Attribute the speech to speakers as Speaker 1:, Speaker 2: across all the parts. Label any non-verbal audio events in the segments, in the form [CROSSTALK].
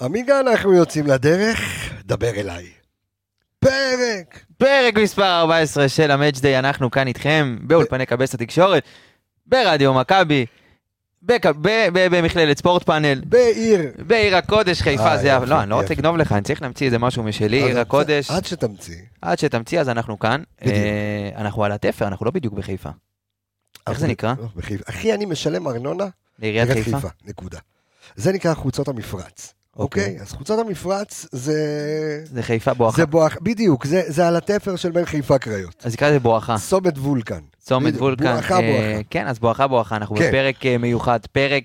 Speaker 1: עמיגה, אנחנו יוצאים לדרך, דבר אליי. פרק!
Speaker 2: פרק מספר 14 של המאג'דיי, אנחנו כאן איתכם באולפני קבס התקשורת, ברדיו מכבי, בק- ב- ב- במכללת ספורט פאנל,
Speaker 1: בעיר.
Speaker 2: בעיר הקודש חיפה,
Speaker 1: אה,
Speaker 2: זה... ה-
Speaker 1: יפה,
Speaker 2: לא, אני לא רוצה
Speaker 1: יפה.
Speaker 2: לגנוב לך, אני צריך להמציא איזה משהו משלי,
Speaker 1: אז-
Speaker 2: עיר הקודש,
Speaker 1: עד שתמציא.
Speaker 2: עד שתמציא אז אנחנו כאן.
Speaker 1: אה, בדיוק.
Speaker 2: אה, אנחנו על התפר, אנחנו לא בדיוק בחיפה. איך זה
Speaker 1: אבל-
Speaker 2: נקרא?
Speaker 1: לא, בחיפה. אחי, אני משלם ארנונה
Speaker 2: לעיריית חיפה?
Speaker 1: נקודה. זה נקרא חוצות המפרץ. אוקיי? אז חוצות המפרץ זה...
Speaker 2: זה חיפה בואכה.
Speaker 1: זה בואך, בדיוק, זה, זה על התפר של בין חיפה קריות.
Speaker 2: אז נקרא לזה בואכה.
Speaker 1: צומת וולקן.
Speaker 2: צומת
Speaker 1: בדיוק,
Speaker 2: וולקן.
Speaker 1: בואכה,
Speaker 2: אה,
Speaker 1: בואכה.
Speaker 2: כן, אז בואכה בואכה, אנחנו
Speaker 1: כן.
Speaker 2: בפרק אה, מיוחד, פרק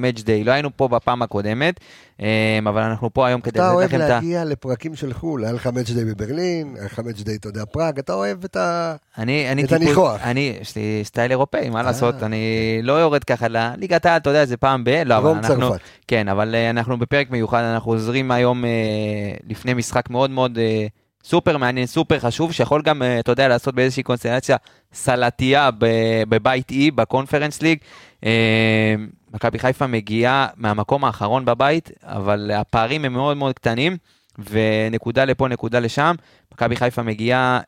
Speaker 2: מאג' דיי. לא היינו פה בפעם הקודמת, אה, אבל אנחנו פה היום כדי
Speaker 1: אתה
Speaker 2: לתת
Speaker 1: אוהב
Speaker 2: לכם את ה...
Speaker 1: להגיע לפרקים של חו"ל, היה לך מאץ' דיי בברלין, היה לך מאץ' דיי, אתה יודע, פראג, אתה אוהב את ה...
Speaker 2: אני, אני
Speaker 1: את הניחוח.
Speaker 2: אני, יש לי סטייל אירופאי, מה
Speaker 1: אה.
Speaker 2: לעשות, אני לא יורד ככה לליגת העל, אתה יודע, זה פעם ב... לא, אבל
Speaker 1: דרום
Speaker 2: אנחנו...
Speaker 1: צרפת.
Speaker 2: כן, אבל אה, אנחנו בפרק מיוחד, אנחנו עוזרים היום אה, לפני משחק מאוד מאוד אה, סופר מעניין, סופר חשוב, שיכול גם, אה, אתה יודע, לעשות באיזושהי קונסטלציה סלטייה ב- בבית אי, בקונפרנס ליג. אה, מכבי חיפה מגיעה מהמקום האחרון בבית, אבל הפערים הם מאוד מאוד קטנים, ונקודה לפה, נקודה לשם. מכבי חיפה מגיעה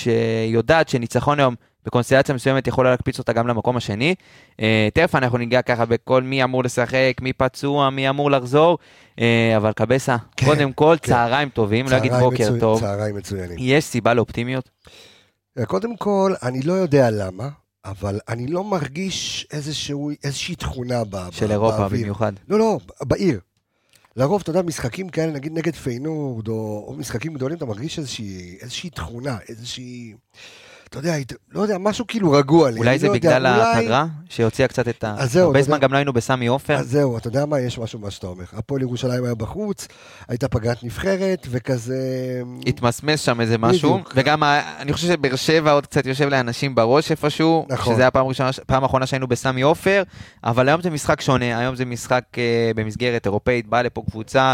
Speaker 2: שיודעת שניצחון היום בקונסטלציה מסוימת יכולה להקפיץ אותה גם למקום השני. אה, תכף אנחנו ניגע ככה בכל מי אמור לשחק, מי פצוע, מי אמור לחזור, אה, אבל קבסה,
Speaker 1: כן,
Speaker 2: קודם כל,
Speaker 1: כן.
Speaker 2: צהריים טובים, לא אגיד
Speaker 1: צהריים
Speaker 2: בוקר
Speaker 1: מצו-
Speaker 2: טוב.
Speaker 1: צהריים מצוינים.
Speaker 2: יש סיבה לאופטימיות?
Speaker 1: קודם כל, אני לא יודע למה, אבל אני לא מרגיש איזשהו, איזושהי תכונה ב-
Speaker 2: של
Speaker 1: ב-
Speaker 2: אירופה
Speaker 1: באוויר.
Speaker 2: במיוחד.
Speaker 1: לא, לא, ב- בעיר. לרוב, אתה יודע, משחקים כאלה, נגיד נגד פיינורד, או, או משחקים גדולים, אתה מרגיש איזושהי, איזושהי תכונה, איזושהי... אתה יודע, היית- לא יודע, משהו כאילו רגוע לי.
Speaker 2: אולי
Speaker 1: אני
Speaker 2: זה
Speaker 1: לא יודע,
Speaker 2: בגלל
Speaker 1: אולי-
Speaker 2: הפגרה, שהוציאה קצת את ה...
Speaker 1: אז זהו,
Speaker 2: הרבה
Speaker 1: אתה
Speaker 2: זמן
Speaker 1: יודע-
Speaker 2: גם לא היינו בסמי עופר.
Speaker 1: אז זהו, אתה יודע מה? יש משהו מה שאתה אומר. הפועל ירושלים היה בחוץ, הייתה פגרת נבחרת, וכזה...
Speaker 2: התמסמס שם איזה משהו,
Speaker 1: בדיוק.
Speaker 2: וגם ה- אני חושב שבאר שבע עוד קצת יושב לאנשים בראש איפשהו,
Speaker 1: נכון.
Speaker 2: שזה היה פעם ראשונה, פעם אחרונה שהיינו בסמי עופר, אבל היום זה משחק שונה, היום זה משחק אה, במסגרת אירופאית, באה לפה קבוצה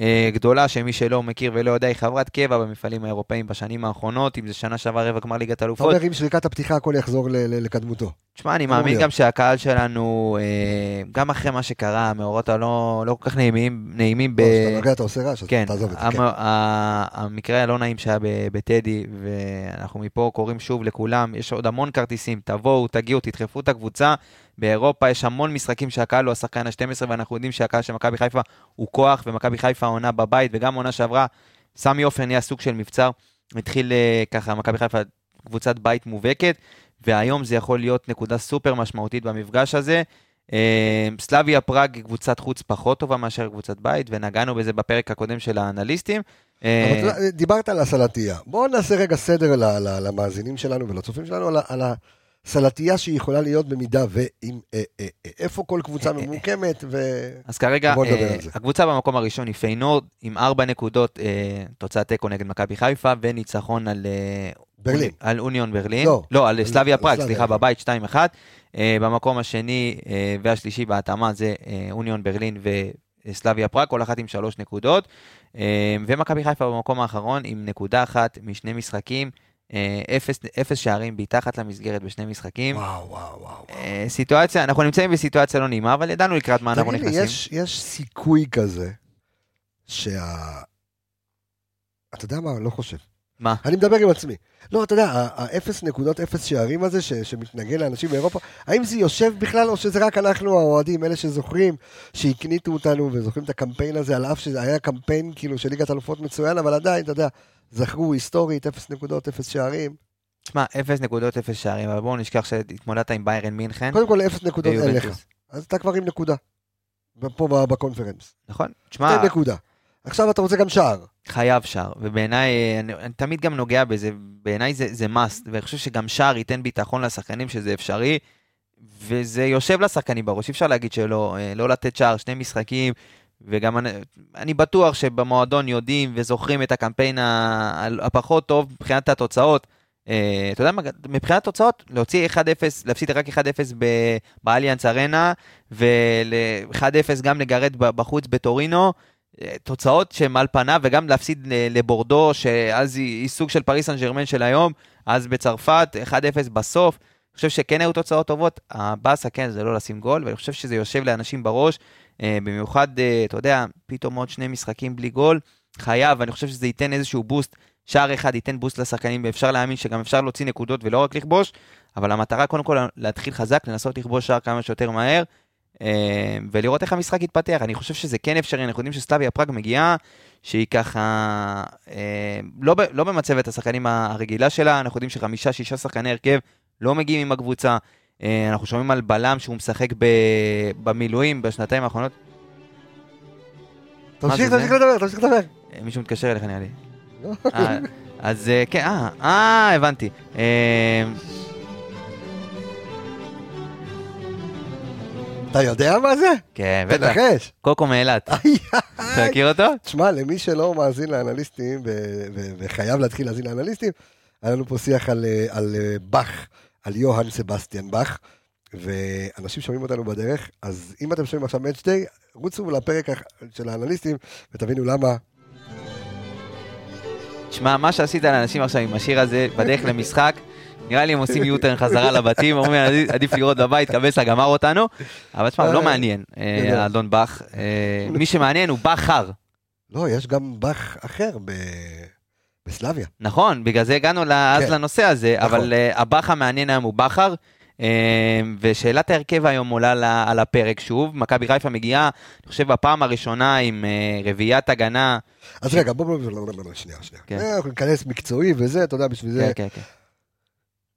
Speaker 2: אה, גדולה, שמי שלא מכיר ולא יודע, היא חברת קבע במפעלים האירופאיים בשנים האחרונות, אם זה שנה שעברה רבע גמר ליגת
Speaker 1: אתה
Speaker 2: אלופות.
Speaker 1: אומר, עם שריקת הפתיחה הכל יחזור ל- ל- לקדמותו.
Speaker 2: תשמע, אני
Speaker 1: אמור
Speaker 2: מאמין
Speaker 1: להיות.
Speaker 2: גם שהקהל שלנו, אה, גם אחרי מה שקרה, המאורעות הלא לא כל כך נעימים, נעימים ב...
Speaker 1: לא, כשאתה נוגע אתה עושה רעש, אז
Speaker 2: כן,
Speaker 1: תעזוב את זה.
Speaker 2: המ-
Speaker 1: כן.
Speaker 2: ה- המקרה הלא נעים שהיה ב- בטדי, ואנחנו מפה קוראים שוב לכולם, יש עוד המון כרטיסים, תבואו, תגיעו, תדחפו את הקבוצה. באירופה יש המון משחקים שהקהל הוא השחקן ה-12, ואנחנו יודעים שהקהל של מכבי חיפה הוא כוח, ומכבי חיפה עונה בבית, וגם עונה שעברה, סמי עופר נהיה סוג של מבצר. התחיל אה, ככה, מכבי חיפה קבוצת בית מובהקת, והיום זה יכול להיות נקודה סופר משמעותית במפגש הזה. אה, סלאביה פראג היא קבוצת חוץ פחות טובה מאשר קבוצת בית, ונגענו בזה בפרק הקודם של האנליסטים. אה,
Speaker 1: אבל אתה יודע, דיברת על הסלטייה. בואו נעשה רגע סדר ל- ל- למאזינים שלנו ולצופים שלנו על ה- על הסלטייה שהיא יכולה להיות במידה ואם... אה, אה, אה, איפה כל קבוצה
Speaker 2: אה, אה, אה.
Speaker 1: ממוקמת ו...
Speaker 2: אז כרגע,
Speaker 1: בוא נדבר
Speaker 2: אה,
Speaker 1: על זה.
Speaker 2: הקבוצה במקום הראשון היא פיינורד, עם ארבע נקודות, אה, תוצאת תיקו נגד מכבי חיפה, וניצחון על... אה,
Speaker 1: ברלין.
Speaker 2: על אוניון ברלין.
Speaker 1: לא.
Speaker 2: לא, על
Speaker 1: על-
Speaker 2: סלאביה
Speaker 1: על
Speaker 2: פראג,
Speaker 1: סלאביה,
Speaker 2: סליחה,
Speaker 1: כן.
Speaker 2: בבית 2-1. אה, במקום השני אה, והשלישי בהתאמה זה אה, אוניון ברלין וסלאביה פראג, כל אחת עם שלוש נקודות. אה, ומכבי חיפה במקום האחרון עם נקודה אחת משני משחקים, אה, אפס, אפס שערים מתחת למסגרת בשני משחקים.
Speaker 1: וואו, וואו, וואו.
Speaker 2: אה, סיטואציה, אנחנו נמצאים בסיטואציה לא נעימה, אבל ידענו לקראת מה אנחנו
Speaker 1: תגיד לי,
Speaker 2: נכנסים.
Speaker 1: יש, יש סיכוי כזה שה... אתה יודע מה? אני לא חושב.
Speaker 2: מה?
Speaker 1: אני מדבר עם עצמי. לא, אתה יודע, ה-0 נקודות 0 שערים הזה ש- שמתנגן לאנשים באירופה, האם זה יושב בכלל או שזה רק אנחנו האוהדים, אלה שזוכרים, שהקניטו אותנו וזוכרים את הקמפיין הזה, על אף שזה היה קמפיין כאילו של ליגת אלופות מצוין, אבל עדיין, אתה יודע, זכרו היסטורית 0 נקודות 0 שערים.
Speaker 2: תשמע, 0.0 שערים, אבל בואו נשכח שהתמודדת עם ביירן מינכן.
Speaker 1: קודם כל 0 נקודות אין לך,
Speaker 2: ויובנטוס.
Speaker 1: אז אתה כבר עם נקודה. פה ב- בקונפרנס.
Speaker 2: נכון? תשמע,
Speaker 1: תן נקודה. עכשיו אתה רוצה גם שער.
Speaker 2: חייב שער, ובעיניי, אה, אני, אני תמיד גם נוגע בזה, בעיניי זה, זה must, ואני חושב שגם שער ייתן ביטחון לשחקנים שזה אפשרי, וזה יושב לשחקנים בראש, אי אפשר להגיד שלא, אה, לא לתת שער, שני משחקים, וגם אני, אני בטוח שבמועדון יודעים וזוכרים את הקמפיין ה- הפחות טוב מבחינת התוצאות. אה, אתה יודע מה, מבחינת תוצאות, להוציא 1-0, להפסיד רק 1-0 ב- באליאנס ארנה, ול-1-0 גם לגרד ב- בחוץ בטורינו, אה, תוצאות שהן על פניו, וגם להפסיד ל- לבורדו, שאז היא, היא סוג של פריס סן ג'רמן של היום, אז בצרפת, 1-0 בסוף. אני חושב שכן היו תוצאות טובות, הבאסה כן זה לא לשים גול, ואני חושב שזה יושב לאנשים בראש, אה, במיוחד, אה, אתה יודע, פתאום עוד שני משחקים בלי גול, חייב, אני חושב שזה ייתן איזשהו בוסט, שער אחד ייתן בוסט לשחקנים, ואפשר להאמין שגם אפשר להוציא נקודות ולא רק לכבוש, אבל המטרה קודם כל להתחיל חזק, לנסות לכבוש שער כמה שיותר מהר, אה, ולראות איך המשחק יתפתח. אני חושב שזה כן אפשרי, אנחנו יודעים שסלאביה פראג מגיעה, שהיא ככה, אה, לא, ב- לא במצבת השחקנים הרגילה שלה, אנחנו יודעים שחמישה, שישה שחקני הרכב לא מגיעים עם הקבוצה. אה, אנחנו שומעים על בלם שהוא משחק ב, במילואים בשנתיים האחרונות.
Speaker 1: תמשיך,
Speaker 2: זה?
Speaker 1: תמשיך לדבר, תמשיך לדבר.
Speaker 2: אה, מישהו מתקשר אליך נראה לי.
Speaker 1: לא.
Speaker 2: אה, אז אה, כן, אה, אה, הבנתי. אה,
Speaker 1: אתה יודע מה זה?
Speaker 2: כן, בטח.
Speaker 1: תנחש.
Speaker 2: קוקו מאילת.
Speaker 1: איי,
Speaker 2: אתה מכיר אותו?
Speaker 1: תשמע, למי שלא מאזין לאנליסטים, ו- ו- וחייב להתחיל להאזין לאנליסטים, היה לנו פה שיח על, אה, על אה, באך, על יוהאן סבסטיאן באך, ואנשים שומעים אותנו בדרך, אז אם אתם שומעים עכשיו מאצ'דיי, רוצו לפרק הח- של האנליסטים, ותבינו למה.
Speaker 2: תשמע, מה שעשית לאנשים עכשיו עם השיר הזה בדרך למשחק, נראה לי הם עושים יוטרן חזרה לבתים, [LAUGHS] אומרים "עדיף- עדיף לראות בבית, קבסה גמר אותנו, אבל תשמע, הוא לא מעניין, אה,
Speaker 1: גדול.
Speaker 2: האדון באך. אה, מי שמעניין הוא בכר,
Speaker 1: לא, יש גם באך אחר ב- בסלביה.
Speaker 2: נכון, בגלל זה הגענו ל- אז
Speaker 1: כן.
Speaker 2: לנושא הזה,
Speaker 1: נכון.
Speaker 2: אבל אה, הבאך המעניין היום הוא בכר. אה, ושאלת ההרכב היום עולה ל- על הפרק שוב, מכבי חיפה מגיעה, אני חושב, בפעם הראשונה עם אה, רביעיית הגנה.
Speaker 1: אז רגע, בוא, בוא, בוא, בוא, בוא, שנייה, שנייה.
Speaker 2: כן.
Speaker 1: אה, אנחנו ניכנס מקצועי וזה, אתה יודע, בשביל זה.
Speaker 2: כן, כן, כן.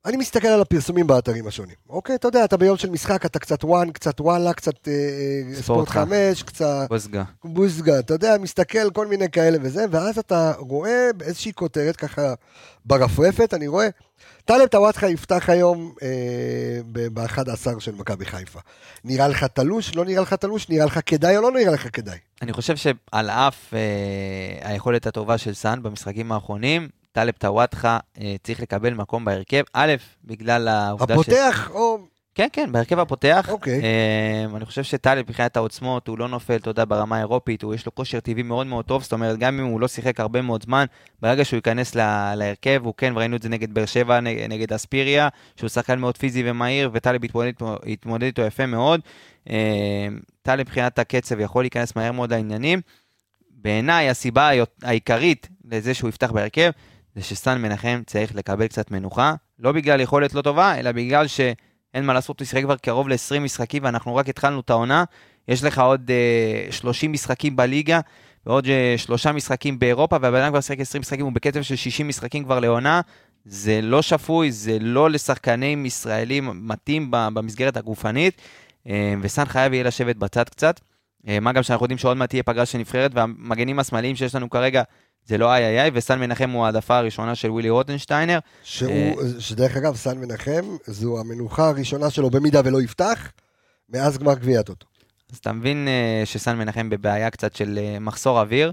Speaker 1: אני מסתכל על הפרסומים באתרים השונים. אוקיי, אתה יודע, אתה ביום של משחק, אתה קצת וואן, קצת וואלה, קצת אה, אה,
Speaker 2: ספורט
Speaker 1: ספורט
Speaker 2: חם.
Speaker 1: חמש, קצת
Speaker 2: בוזגה.
Speaker 1: בוזגה, אתה יודע, מסתכל, כל מיני כאלה וזה, ואז אתה רואה איזושהי כותרת ככה ברפרפת, אני רואה, טלב טוואטחה יפתח היום אה, ב-11 של מכבי חיפה. נראה לך תלוש, לא נראה לך תלוש, נראה לך כדאי או לא נראה לך כדאי?
Speaker 2: אני חושב שעל אף אה, היכולת הטובה של סאן במשחקים האחרונים, טלב טוואטחה אה, צריך לקבל מקום בהרכב. א', בגלל העובדה
Speaker 1: הפותח או...
Speaker 2: כן, כן, בהרכב הפותח.
Speaker 1: אוקיי.
Speaker 2: אה, אני חושב שטלב מבחינת העוצמות, הוא לא נופל, אתה יודע, ברמה האירופית, הוא יש לו כושר טבעי מאוד מאוד טוב, זאת אומרת, גם אם הוא לא שיחק הרבה מאוד זמן, ברגע שהוא ייכנס לה, להרכב, הוא כן, וראינו את זה נגד באר שבע, נג, נגד אספיריה, שהוא שחקן מאוד פיזי ומהיר, וטלב התמודד, איתו- התמודד איתו יפה מאוד. אה, טלב מבחינת הקצב יכול להיכנס מהר מאוד לעניינים. בעיניי הסיבה היות- העיקרית לזה שהוא יפתח בהרכב, זה שסן מנחם צריך לקבל קצת מנוחה, לא בגלל יכולת לא טובה, אלא בגלל ש... אין מה לעשות, הוא שיחק כבר קרוב ל-20 משחקים, ואנחנו רק התחלנו את העונה. יש לך עוד אה, 30 משחקים בליגה, ועוד אה, שלושה משחקים באירופה, והבן אדם כבר שיחק 20 משחקים, הוא בקצב של 60 משחקים כבר לעונה. זה לא שפוי, זה לא לשחקנים ישראלים מתאים ב- במסגרת הגופנית, אה, וסן חייב יהיה לשבת בצד קצת. אה, מה גם שאנחנו יודעים שעוד מעט תהיה פגרה של נבחרת, והמגנים השמאליים שיש לנו כרגע זה לא איי איי איי, וסן מנחם הוא העדפה הראשונה של ווילי רוטנשטיינר. אה,
Speaker 1: שהוא, שדרך אגב, סן מנחם, זו המנוחה הראשונה שלו במידה ולא יפתח, מאז גמר גביע הטוטו.
Speaker 2: אז אתה מבין אה, שסן מנחם בבעיה קצת של אה, מחסור אוויר,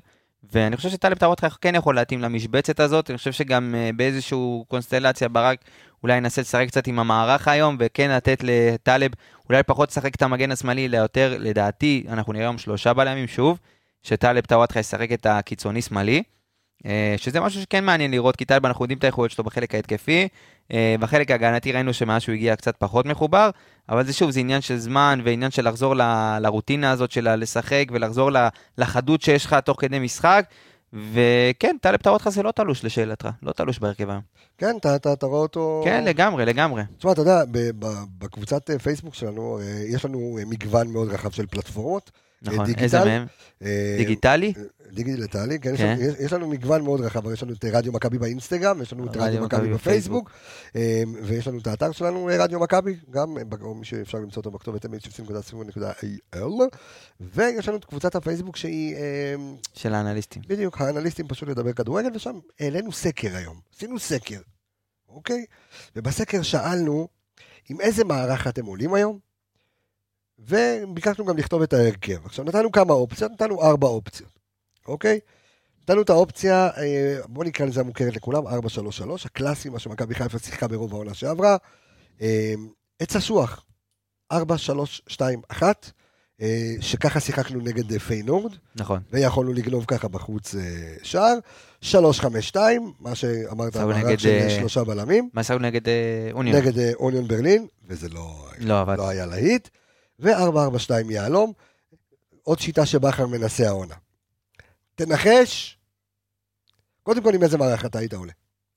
Speaker 2: ואני חושב שטלב טרוטחה כן יכול להתאים למשבצת הזאת, אני חושב שגם אה, באיזשהו קונסטלציה ברק אולי ינסה לשחק קצת עם המערך היום, וכן לתת לטלב אולי פחות לשחק את המגן השמאלי, אלא יותר, לדעתי, אנחנו נראה היום שלושה בלמים שוב, שטלב טרוטחה ישחק את הקיצוני שמאלי. אה, שזה משהו שכן מעניין לראות, כי טלב, אנחנו יודעים את היכולת שלו בחלק ההתקפי. אה, בחלק ההגנתי ראינו שמאז שהוא הגיע קצת פחות מחובר, אבל זה שוב, זה עניין של זמן ועניין של לחזור ל- לרוטינה הזאת של לשחק ולחזור ל- לחדות שיש לך תוך כדי משחק. וכן, טלב טרוטחה זה לא תלוש לשאלתך, לא תלוש בהרכב היום.
Speaker 1: כן, אתה, אתה, אתה רואה אותו...
Speaker 2: כן, לגמרי, לגמרי.
Speaker 1: תשמע, אתה יודע, ב- ב- בקבוצת אה, פייסבוק שלנו, אה, יש לנו אה, מגוון מאוד רחב של פלטפורמות.
Speaker 2: נכון,
Speaker 1: דיגיטל?
Speaker 2: איזה מהם?
Speaker 1: אה,
Speaker 2: דיגיטלי?
Speaker 1: דיגיטלי, כן, יש
Speaker 2: כן.
Speaker 1: לנו- יש- יש לנו מגוון מאוד רחב, הרי יש לנו את אה, רדיו מכבי באינסטגרם, יש לנו את רדיו מכבי בפייסבוק, אה, ויש לנו את האתר שלנו, אה, רדיו מכבי, גם אה, בק- או מי שאפשר למצוא אותו בכתובת אה, mhfc.co.il, ויש לנו את קבוצת הפייסבוק שהיא, אה,
Speaker 2: של האנליסטים.
Speaker 1: בדיוק, האנליסטים פשוט לדבר כדורגל, ושם העלינו סקר היום, עשינו סקר, אוקיי? ובסקר שאלנו, עם איזה מערך אתם עולים היום? וביקשנו גם לכתוב את ההרכב. עכשיו, נתנו כמה אופציות, נתנו ארבע אופציות, אוקיי? נתנו את האופציה, אה, בוא נקרא לזה המוכרת לכולם, 433, הקלאסי, מה שמכבי חיפה שיחקה ברוב העונה שעברה. אה, עץ אשוח, 4321, אה, שככה שיחקנו נגד אה, פיינורד.
Speaker 2: נכון.
Speaker 1: ויכולנו לגנוב ככה בחוץ אה, שער. 3-5-2, מה שאמרת,
Speaker 2: עכשיו
Speaker 1: המערך
Speaker 2: נגד,
Speaker 1: של אה,
Speaker 2: אה,
Speaker 1: שלושה בלמים,
Speaker 2: מה עשינו נגד אה, אוניון?
Speaker 1: נגד אה, אוניון ברלין, וזה לא,
Speaker 2: לא עבד.
Speaker 1: לא היה להיט, ו-4-4-2 יהלום. עוד שיטה שבכר מנסה העונה. תנחש, קודם כל עם איזה מערך אתה היית עולה.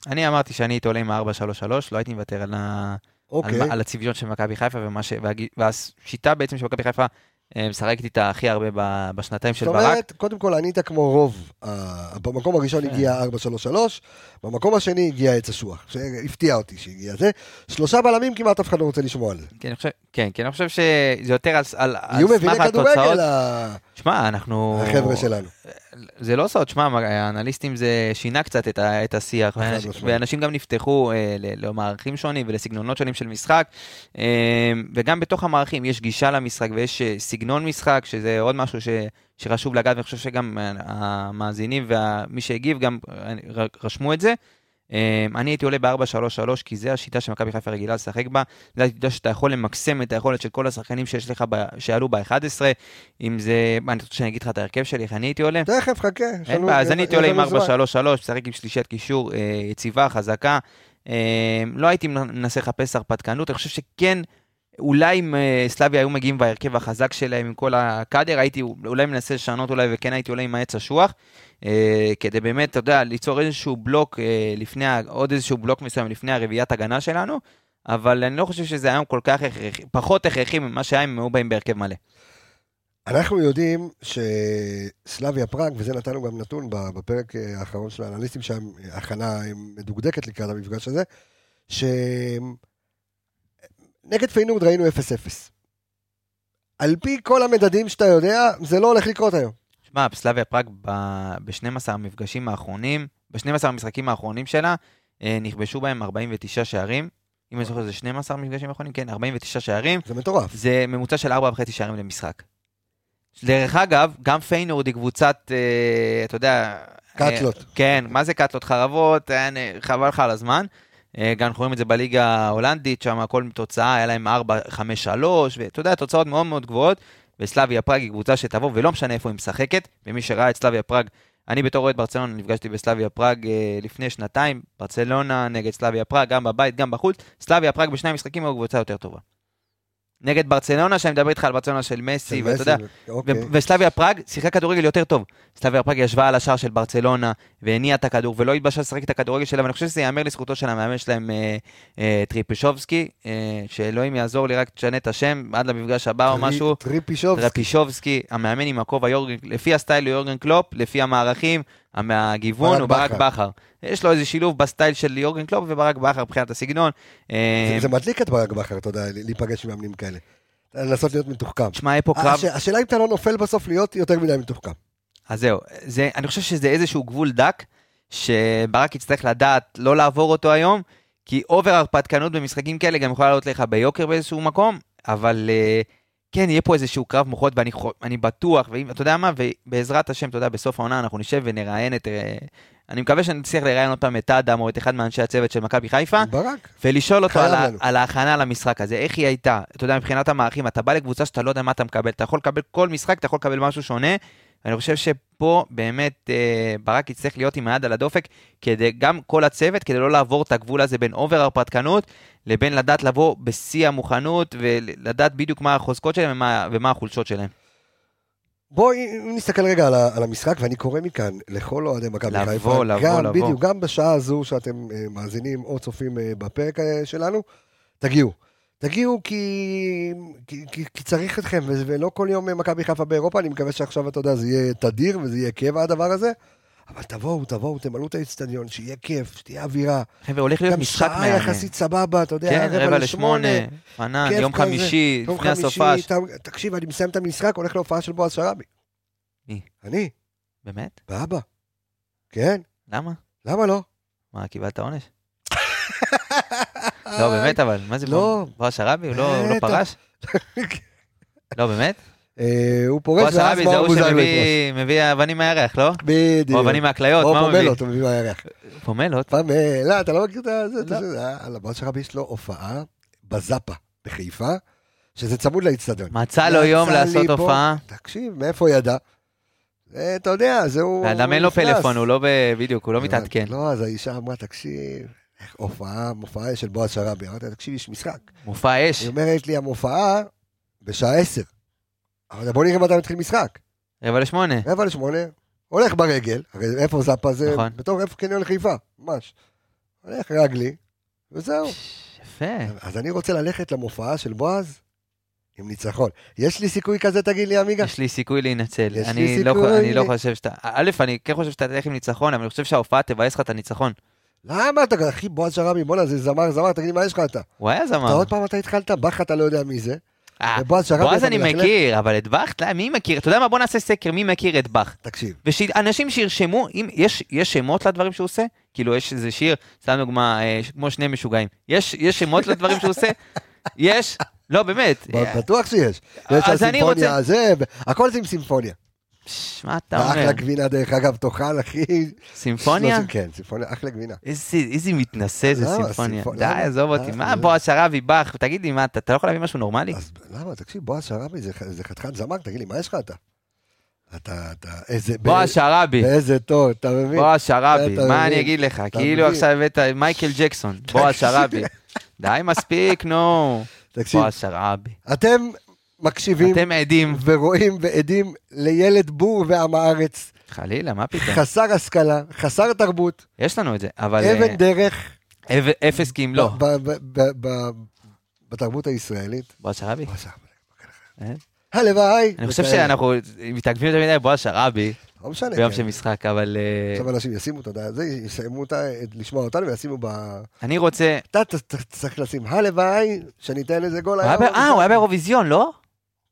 Speaker 2: אני אמרתי שאני הייתי עולה עם ה-4-3-3, לא הייתי מוותר על, ה...
Speaker 1: אוקיי,
Speaker 2: על, מה- על הצביון של מכבי חיפה, ומה ש... והג- והשיטה בעצם שמכבי חיפה אה, משחקת איתה הכי הרבה ב- בשנתיים של
Speaker 1: זאת
Speaker 2: ברק.
Speaker 1: אומרת, קודם כל ענית כמו רוב, אה, במקום הראשון
Speaker 2: כן.
Speaker 1: הגיע 433, במקום השני הגיע עץ אשוח, שהפתיע אותי שהגיע זה, שלושה בלמים כמעט אף אחד לא רוצה לשמוע על זה.
Speaker 2: כן, אני חושב, כן, כי אני חושב שזה יותר על, על, על
Speaker 1: יהיו
Speaker 2: סמך
Speaker 1: מביני
Speaker 2: התוצאות.
Speaker 1: כדורגל ה-
Speaker 2: שמע, אנחנו...
Speaker 1: החבר'ה שלנו.
Speaker 2: זה לא סוד, שמע, האנליסטים זה שינה קצת את, ה, את השיח,
Speaker 1: חד
Speaker 2: ואנשים,
Speaker 1: משמעית.
Speaker 2: ואנשים גם נפתחו אה, ל- למערכים שונים ולסגנונות שונים של משחק, אה, וגם בתוך המערכים יש גישה למשחק ויש אה, סגנון משחק, שזה עוד משהו ש, שחשוב לגעת, ואני חושב שגם אה, המאזינים ומי שהגיב גם אה, ר- רשמו את זה. אה, אני הייתי עולה ב-4-3-3, כי זו השיטה שמכבי חיפה רגילה לשחק בה. זו השיטה שאתה יכול למקסם את היכולת של כל השחקנים שיש לך, ב- שעלו ב-11, אם זה... מה, אני רוצה שאני אגיד לך את ההרכב שלי, איך אני הייתי עולה?
Speaker 1: תכף, חכה. יש
Speaker 2: אין
Speaker 1: לנו-
Speaker 2: בעיה, אז אני
Speaker 1: יש
Speaker 2: הייתי עולה עם
Speaker 1: לנו זמן.
Speaker 2: 4-3-3, משחק עם שלישיית קישור אה, יציבה, חזקה. אה, לא הייתי מנסה לחפש הרפתקנות, אני חושב שכן, אולי אם אה, סלאביה היו מגיעים בהרכב החזק שלהם עם כל הקאדר, הייתי אולי מנסה לשנות אולי, וכן הייתי עולה עם העץ אשוח, אה, כדי באמת, אתה יודע, ליצור איזשהו בלוק, אה, לפני, ה- עוד איזשהו בלוק מסוים לפני הרביעיית הגנה שלנו. אבל אני לא חושב שזה היום כל כך הכרחי, פחות הכרחי ממה שהיה אם הם היו באים בהרכב מלא.
Speaker 1: אנחנו יודעים שסלאביה פראג, וזה נתנו גם נתון בפרק אה, האחרון של האנליסטים, שם אה, הכנה מדוקדקת לקראת המפגש הזה, שנגד פיינורד ראינו 0-0. על פי כל המדדים שאתה יודע, זה לא הולך לקרות היום.
Speaker 2: שמע, סלאביה פראג ב-12 המפגשים האחרונים, ב-12 המשחקים האחרונים שלה, אה, נכבשו בהם 49 שערים. אם אני זוכר זה 12 מפגשים האחרונים, כן, 49 שערים.
Speaker 1: זה מטורף.
Speaker 2: זה ממוצע של 4.5 שערים למשחק. דרך אגב, גם פיינורד היא קבוצת, אה, אתה יודע...
Speaker 1: קאטלות.
Speaker 2: אה, כן, מה זה קאטלות חרבות? אה, נ- חבל לך על הזמן. אה, גם אנחנו רואים את זה בליגה ההולנדית, שם הכל תוצאה, היה להם 4-5-3, ואתה יודע, תוצאות מאוד מאוד גבוהות. וסלאביה פראג היא קבוצה שתבוא, ולא משנה איפה היא משחקת, ומי שראה את סלאביה פראג, אני בתור אוהד ברצלונה נפגשתי בסלאביה פראג אה, לפני שנתיים, ברצלונה נגד סלאביה פראג, גם בבית, גם בחוץ, סלאביה פראג בשני המשחקים היו קבוצה יותר טובה. נגד ברצלונה, שאני מדבר איתך על ברצלונה של מסי, ואתה יודע, ו-
Speaker 1: אוקיי.
Speaker 2: וסלאביה פראג שיחקה כדורגל יותר טוב. סלאביה פראג ישבה על השער של ברצלונה, והניעה את הכדור, ולא התבשלה לשחק את הכדורגל שלה, ואני חושב שזה ייאמר לזכותו של המאמן שלהם, אה, אה, טריפישובסקי, אה, שאלוהים יעזור לי, רק תשנה את השם, עד למפגש הבא או
Speaker 1: טרי-
Speaker 2: משהו.
Speaker 1: טריפישובסקי.
Speaker 2: טרפישובסקי, המאמן עם הכובע יורגן, לפי הסטייל הוא יורגן קלופ, לפי המערכים, המ- הגיוון
Speaker 1: ברק
Speaker 2: הוא ברק
Speaker 1: בכר.
Speaker 2: בכר. יש לו איזה שילוב בסטייל של יורגן קלופ וברק בכר מבחינת הסגנון.
Speaker 1: זה-
Speaker 2: אה,
Speaker 1: זה מדליק את ברק בכר, אתה יודע, להיפגש עם מאמנים כאלה. לנסות להיות מתוחכם.
Speaker 2: תשמע, היה פה קרב...
Speaker 1: הש- השאלה אם אתה לא נופל בסוף להיות יותר מדי מתוחכם.
Speaker 2: אז זהו, זה, אני חושב שזה איזשהו גבול דק, שברק יצטרך לדעת לא לעבור אותו היום, כי אובר הרפתקנות במשחקים כאלה גם יכולה לעלות לך ביוקר באיזשהו מקום, אבל אה, כן, יהיה פה איזשהו קרב מוחות, ואני חו- אני בטוח, ואם, אתה יודע מה, ובעזרת השם, אתה יודע, בסוף העונה אנחנו נשב ונראיין את... אה, אני מקווה שנצליח לראיין עוד פעם את אדם או את אחד מאנשי הצוות של מכבי חיפה,
Speaker 1: ברק.
Speaker 2: ולשאול אותו
Speaker 1: חייב
Speaker 2: על, ה-
Speaker 1: לנו.
Speaker 2: על ההכנה למשחק הזה, איך היא הייתה. אתה יודע, מבחינת המערכים, אתה בא לקבוצה שאתה לא יודע מה אתה מקבל, אתה יכול לקבל כל משחק, אתה יכול לקבל משהו שונה. אני חושב שפה באמת אה, ברק יצטרך להיות עם היד על הדופק, כדי, גם כל הצוות, כדי לא לעבור את הגבול הזה בין אובר הרפתקנות, לבין לדעת לבוא בשיא המוכנות, ולדעת בדיוק מה החוזקות שלהם ומה, ומה החולשות שלהם.
Speaker 1: בואי נסתכל רגע על, ה- על המשחק, ואני קורא מכאן לכל אוהדי מכבי
Speaker 2: לבוא,
Speaker 1: חיפה.
Speaker 2: לבוא,
Speaker 1: גם,
Speaker 2: לבוא.
Speaker 1: בדיוק, גם בשעה הזו שאתם אה, מאזינים או צופים אה, בפרק אה, שלנו, תגיעו. תגיעו כי, כי, כי, כי צריך אתכם, וזה- ולא כל יום אה, מכבי חיפה באירופה, אני מקווה שעכשיו, אתה יודע, זה יהיה תדיר וזה יהיה קבע הדבר הזה, אבל תבואו, תבואו, תמלאו את האיצטדיון, שיהיה כיף, שתהיה אווירה.
Speaker 2: חבר'ה, הולך להיות
Speaker 1: גם
Speaker 2: משחק
Speaker 1: שעה
Speaker 2: מהמם.
Speaker 1: יחסית סבבה, אתה יודע,
Speaker 2: כן, רבע לשמונה, פנן,
Speaker 1: כיף
Speaker 2: יום
Speaker 1: כזה,
Speaker 2: חמישי,
Speaker 1: יום
Speaker 2: לפני
Speaker 1: חמישי,
Speaker 2: הסופש.
Speaker 1: אתה- תקשיב, אני מסיים את המשחק, הולך להופעה של בועז שרבי.
Speaker 2: מי?
Speaker 1: אני,
Speaker 2: באמת?
Speaker 1: באבא. כן,
Speaker 2: למה?
Speaker 1: למה לא?
Speaker 2: מה, קיבלת עונש? לא, באמת, אבל, מה זה,
Speaker 1: אה, לא. אה,
Speaker 2: בועז שרבי? הוא לא הוא לא
Speaker 1: בטח. [LAUGHS]
Speaker 2: פרש? לא, באמת?
Speaker 1: אה, הוא פורש
Speaker 2: בועז
Speaker 1: ואז
Speaker 2: שרבי
Speaker 1: מה
Speaker 2: זה
Speaker 1: הוא
Speaker 2: הוא
Speaker 1: מוזר לפרוש.
Speaker 2: שמביא מביא אבנים מהירח, לא? או
Speaker 1: בדיוק.
Speaker 2: אבנים מהכליות,
Speaker 1: או
Speaker 2: מה הוא מביא?
Speaker 1: פומלות, הוא מביא מהירח.
Speaker 2: פומלות?
Speaker 1: פעם, אה, לא, אתה לא מכיר את ה- זה?
Speaker 2: לא.
Speaker 1: אתה יודע, אה, על הבועז שרבי יש לו הופעה בזאפה בחיפה, שזה צמוד לאיצטדיון.
Speaker 2: מצא לו יום
Speaker 1: מצא לי
Speaker 2: לעשות
Speaker 1: פה-
Speaker 2: הופעה.
Speaker 1: תקשיב, מאיפה הוא ידע? אה, אתה יודע, זה הוא...
Speaker 2: לאדם אין לו
Speaker 1: נכנס.
Speaker 2: פלאפון, הוא לא ב- בדיוק, הוא לא מתעדכן.
Speaker 1: לא, אז האישה אמרה, תקשיב, איך הופעה, מופעה של בועז שרבי. אמרתי לה, תקשיב, יש משחק.
Speaker 2: מופע אש.
Speaker 1: היא אומרת לי, המופעה בשעה עשר. אבל בוא נראה מתי מתחיל משחק.
Speaker 2: רבע לשמונה.
Speaker 1: רבע לשמונה, הולך ברגל, הרי איפה זאפה זה?
Speaker 2: נכון.
Speaker 1: בתור איפה קניון חיפה, ממש. הולך רגלי, וזהו.
Speaker 2: יפה.
Speaker 1: אז אני רוצה ללכת למופעה של בועז עם ניצחון. יש לי סיכוי כזה, תגיד לי, עמיגה?
Speaker 2: יש לי סיכוי להינצל.
Speaker 1: יש לי
Speaker 2: אני לא,
Speaker 1: סיכוי.
Speaker 2: חו- אני לא חושב שאתה... א', אני כן חושב שאתה תלך עם ניצחון, אבל אני חושב שההופעה תבאס לך את הניצחון.
Speaker 1: למה אתה, אחי, בועז שרמי, בואנה, זה זמר, זמר, תגיד לי, מה יש לך אתה?
Speaker 2: הוא היה
Speaker 1: אתה
Speaker 2: זמר.
Speaker 1: עוד פעם אתה התחלת? בכר אתה לא יודע מי זה.
Speaker 2: אה,
Speaker 1: ובועז שרמי,
Speaker 2: בועז
Speaker 1: אתה
Speaker 2: אני
Speaker 1: מלכלך?
Speaker 2: מכיר, אבל את באך, לא, מי מכיר? אתה יודע מה? בוא נעשה סקר, מי מכיר את באך?
Speaker 1: תקשיב,
Speaker 2: ושאנשים שירשמו, אם יש, יש שמות לדברים שהוא עושה? כאילו יש איזה שיר, סתם דוגמה, אה, ש- כמו שני משוגעים. יש, יש שמות לדברים שהוא עושה? יש? לא, באמת.
Speaker 1: ב- בטוח שיש. יש
Speaker 2: אז אני רוצה-
Speaker 1: הסימפוניה, זה, הכל זה עם סימפוניה.
Speaker 2: פש, מה אתה אומר?
Speaker 1: אחלה גבינה, דרך אגב, תאכל, אחי.
Speaker 2: סימפוניה?
Speaker 1: לא, כן, סימפוניה, אחלה גבינה.
Speaker 2: איזה איזה מתנשא זה
Speaker 1: למה?
Speaker 2: סימפוניה.
Speaker 1: סימפוניה.
Speaker 2: די,
Speaker 1: למה?
Speaker 2: עזוב אותי.
Speaker 1: אה,
Speaker 2: מה
Speaker 1: אה.
Speaker 2: בועז שרבי, באך, תגיד לי, מה, אתה אתה לא יכול להביא משהו נורמלי?
Speaker 1: אז למה, תקשיב, בועז שרמי זה ח- זה חתיכת זמר, תגיד לי, מה יש לך אתה? אתה, אתה, איזה...
Speaker 2: בועז שרבי,
Speaker 1: באיזה טוב, אתה מבין?
Speaker 2: בועז שרבי,
Speaker 1: אתה
Speaker 2: מה
Speaker 1: מבין?
Speaker 2: אני אגיד לך?
Speaker 1: אתה
Speaker 2: כאילו
Speaker 1: מבין?
Speaker 2: עכשיו הבאת מייקל
Speaker 1: [LAUGHS]
Speaker 2: ג'קסון, בועז שרבי. די, מספיק, נו.
Speaker 1: תקשיב,
Speaker 2: בועז שרבי.
Speaker 1: אתם מקשיבים
Speaker 2: אתם עדים.
Speaker 1: ורואים ועדים לילד בור ועם הארץ,
Speaker 2: חלילה, מה פתאום?
Speaker 1: חסר השכלה, חסר תרבות,
Speaker 2: יש לנו את זה, אבל... אה,
Speaker 1: אבן דרך
Speaker 2: אב- אפס כי אם לא.
Speaker 1: ב- ב- ב- ב- בתרבות הישראלית.
Speaker 2: בועז שרבי?
Speaker 1: בועז שרעבי,
Speaker 2: אה?
Speaker 1: הלוואי.
Speaker 2: אני חושב
Speaker 1: וכאלה.
Speaker 2: שאנחנו מתעכבים יותר מדי בועז שרבי
Speaker 1: לא משנה.
Speaker 2: ביום
Speaker 1: כן.
Speaker 2: של משחק, אבל אה,
Speaker 1: עכשיו אנשים ישימו את הדעה, זה יסיימו אותה, לשמוע אותנו וישימו ב...
Speaker 2: אני רוצה...
Speaker 1: אתה ת- ת- צריך לשים, הלוואי שניתן איזה גול
Speaker 2: הוא היה ב-
Speaker 1: היום.
Speaker 2: אה, הוא היה באירוויזיון, לא?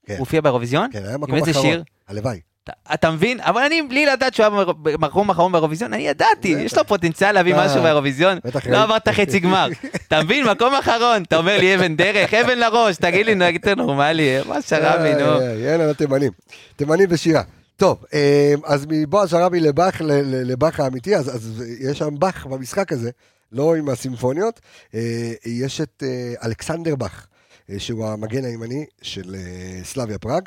Speaker 1: כן.
Speaker 2: הוא הופיע באירוויזיון?
Speaker 1: כן, היה
Speaker 2: עם
Speaker 1: מקום
Speaker 2: איזה
Speaker 1: אחרון.
Speaker 2: שיר?
Speaker 1: הלוואי.
Speaker 2: אתה- אתה מבין? אבל אני, בלי לדעת שהוא היה במקום האחרון באירוויזיון, אני ידעתי,
Speaker 1: בטח.
Speaker 2: יש לו פוטנציאל להביא
Speaker 1: אה,
Speaker 2: משהו באירוויזיון,
Speaker 1: בטח.
Speaker 2: לא עברת
Speaker 1: [LAUGHS]
Speaker 2: חצי גמר. אתה מבין? מקום אחרון, אתה אומר לי אבן דרך, אבן לראש, תגיד לי, נגיד אתה נורמלי, מה שרבי,
Speaker 1: איי,
Speaker 2: נו.
Speaker 1: איי, אה, יאללה, לתימנים. תימנים ושירה. טוב, אה, אז מבועז שרבי לבאך, ל- ל- לבאך האמיתי, אז, אז יש שם באך במשחק הזה, לא עם הסימפוניות. אה, יש את אה, אלכסנדר באך, אה, שהוא המגן הימני של אה, סלאביה פראג,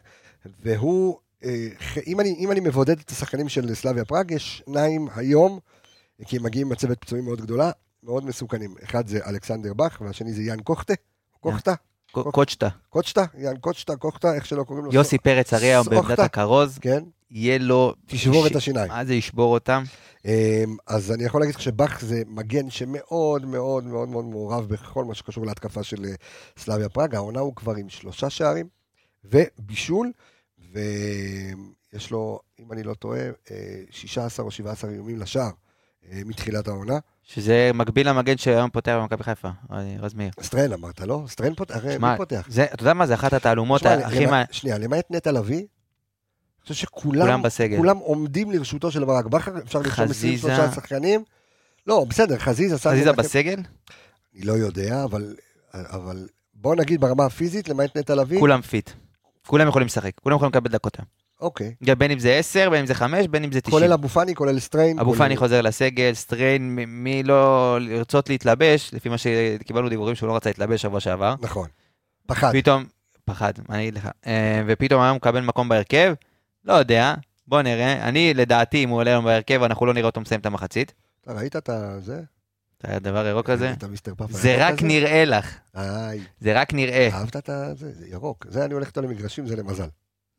Speaker 1: והוא, אה, ח- אם אני, אם אני מבודד את השחקנים של סלאביה פראג, יש שניים היום, אה, כי הם מגיעים מצבת פצועים מאוד גדולה, מאוד מסוכנים. אחד זה אלכסנדר באך, והשני זה יאן קוכטה, קוכטה,
Speaker 2: ק- קוצ'טה,
Speaker 1: קוצ'טה, יאן קוצ'טה, קוכטה, איך שלא קוראים לו.
Speaker 2: יוסי פרץ הרי היום
Speaker 1: סוחטה.
Speaker 2: בעמדת הכרוז,
Speaker 1: כן,
Speaker 2: יהיה לו...
Speaker 1: תשבור
Speaker 2: ש-
Speaker 1: את השיניים.
Speaker 2: מה זה ישבור אותם?
Speaker 1: אמ, אז אני יכול להגיד לך שבאך זה מגן שמאוד מאוד מאוד מאוד מעורב בכל מה שקשור להתקפה של אה, סלאביה פראג. העונה הוא כבר עם שלושה שערים ובישול, ויש לו, אם אני לא טועה, אה, 16 או 17 איומים לשער אה, מתחילת העונה.
Speaker 2: שזה מקביל למגן שהיום פותח במכבי חיפה, רז מאיר.
Speaker 1: סטרן אמרת, לא? סטרן פותח, הרי מי
Speaker 2: שמע,
Speaker 1: פותח?
Speaker 2: זה- אתה יודע מה, זה אחת התעלומות
Speaker 1: שמע,
Speaker 2: הכי... מה-
Speaker 1: למע- שנייה, למעט נטע לביא, אני חושב שכולם
Speaker 2: כולם בסגל.
Speaker 1: כולם עומדים לרשותו של ברק בכר, אפשר לרשום
Speaker 2: כן. חזיזה.
Speaker 1: 23 שחקנים. לא, בסדר, חזיזה. סאן
Speaker 2: חזיזה
Speaker 1: מנחם.
Speaker 2: בסגל?
Speaker 1: אני לא יודע, אבל, אבל בוא נגיד ברמה הפיזית, למעט נטע לביא.
Speaker 2: כולם פיט. כולם יכולים לשחק, כולם יכולים לקבל דקות היום.
Speaker 1: אוקיי.
Speaker 2: גם בין אם זה 10, בין אם זה 5, בין אם זה 90.
Speaker 1: כולל אבו פאני, כולל סטריין.
Speaker 2: אבו
Speaker 1: כולל-
Speaker 2: פאני חוזר לסגל, סטריין, מ- מי לא לרצות להתלבש, לפי מה שקיבלנו דיבורים שהוא לא רצה להתלבש שבוע שעבר.
Speaker 1: נכון. פחד.
Speaker 2: פתאום, פחד, מה אני אגיד לך. אה, ופתאום היום מקבל מקום בהרכב, לא יודע, בוא נראה. אני, לדעתי, אם הוא עולה היום בהרכב, אנחנו לא נראה אותו מסיים את המחצית.
Speaker 1: אתה ראית את ה- זה?
Speaker 2: אתה הדבר הירוק הזה?
Speaker 1: את המיסטר פאפה.
Speaker 2: זה
Speaker 1: הירוק
Speaker 2: רק
Speaker 1: הזה?
Speaker 2: נראה אה. לך,
Speaker 1: איי,
Speaker 2: זה רק נראה.
Speaker 1: אהבת את ה... זה זה ירוק. זה אני הולך איתו למגרשים, זה למזל.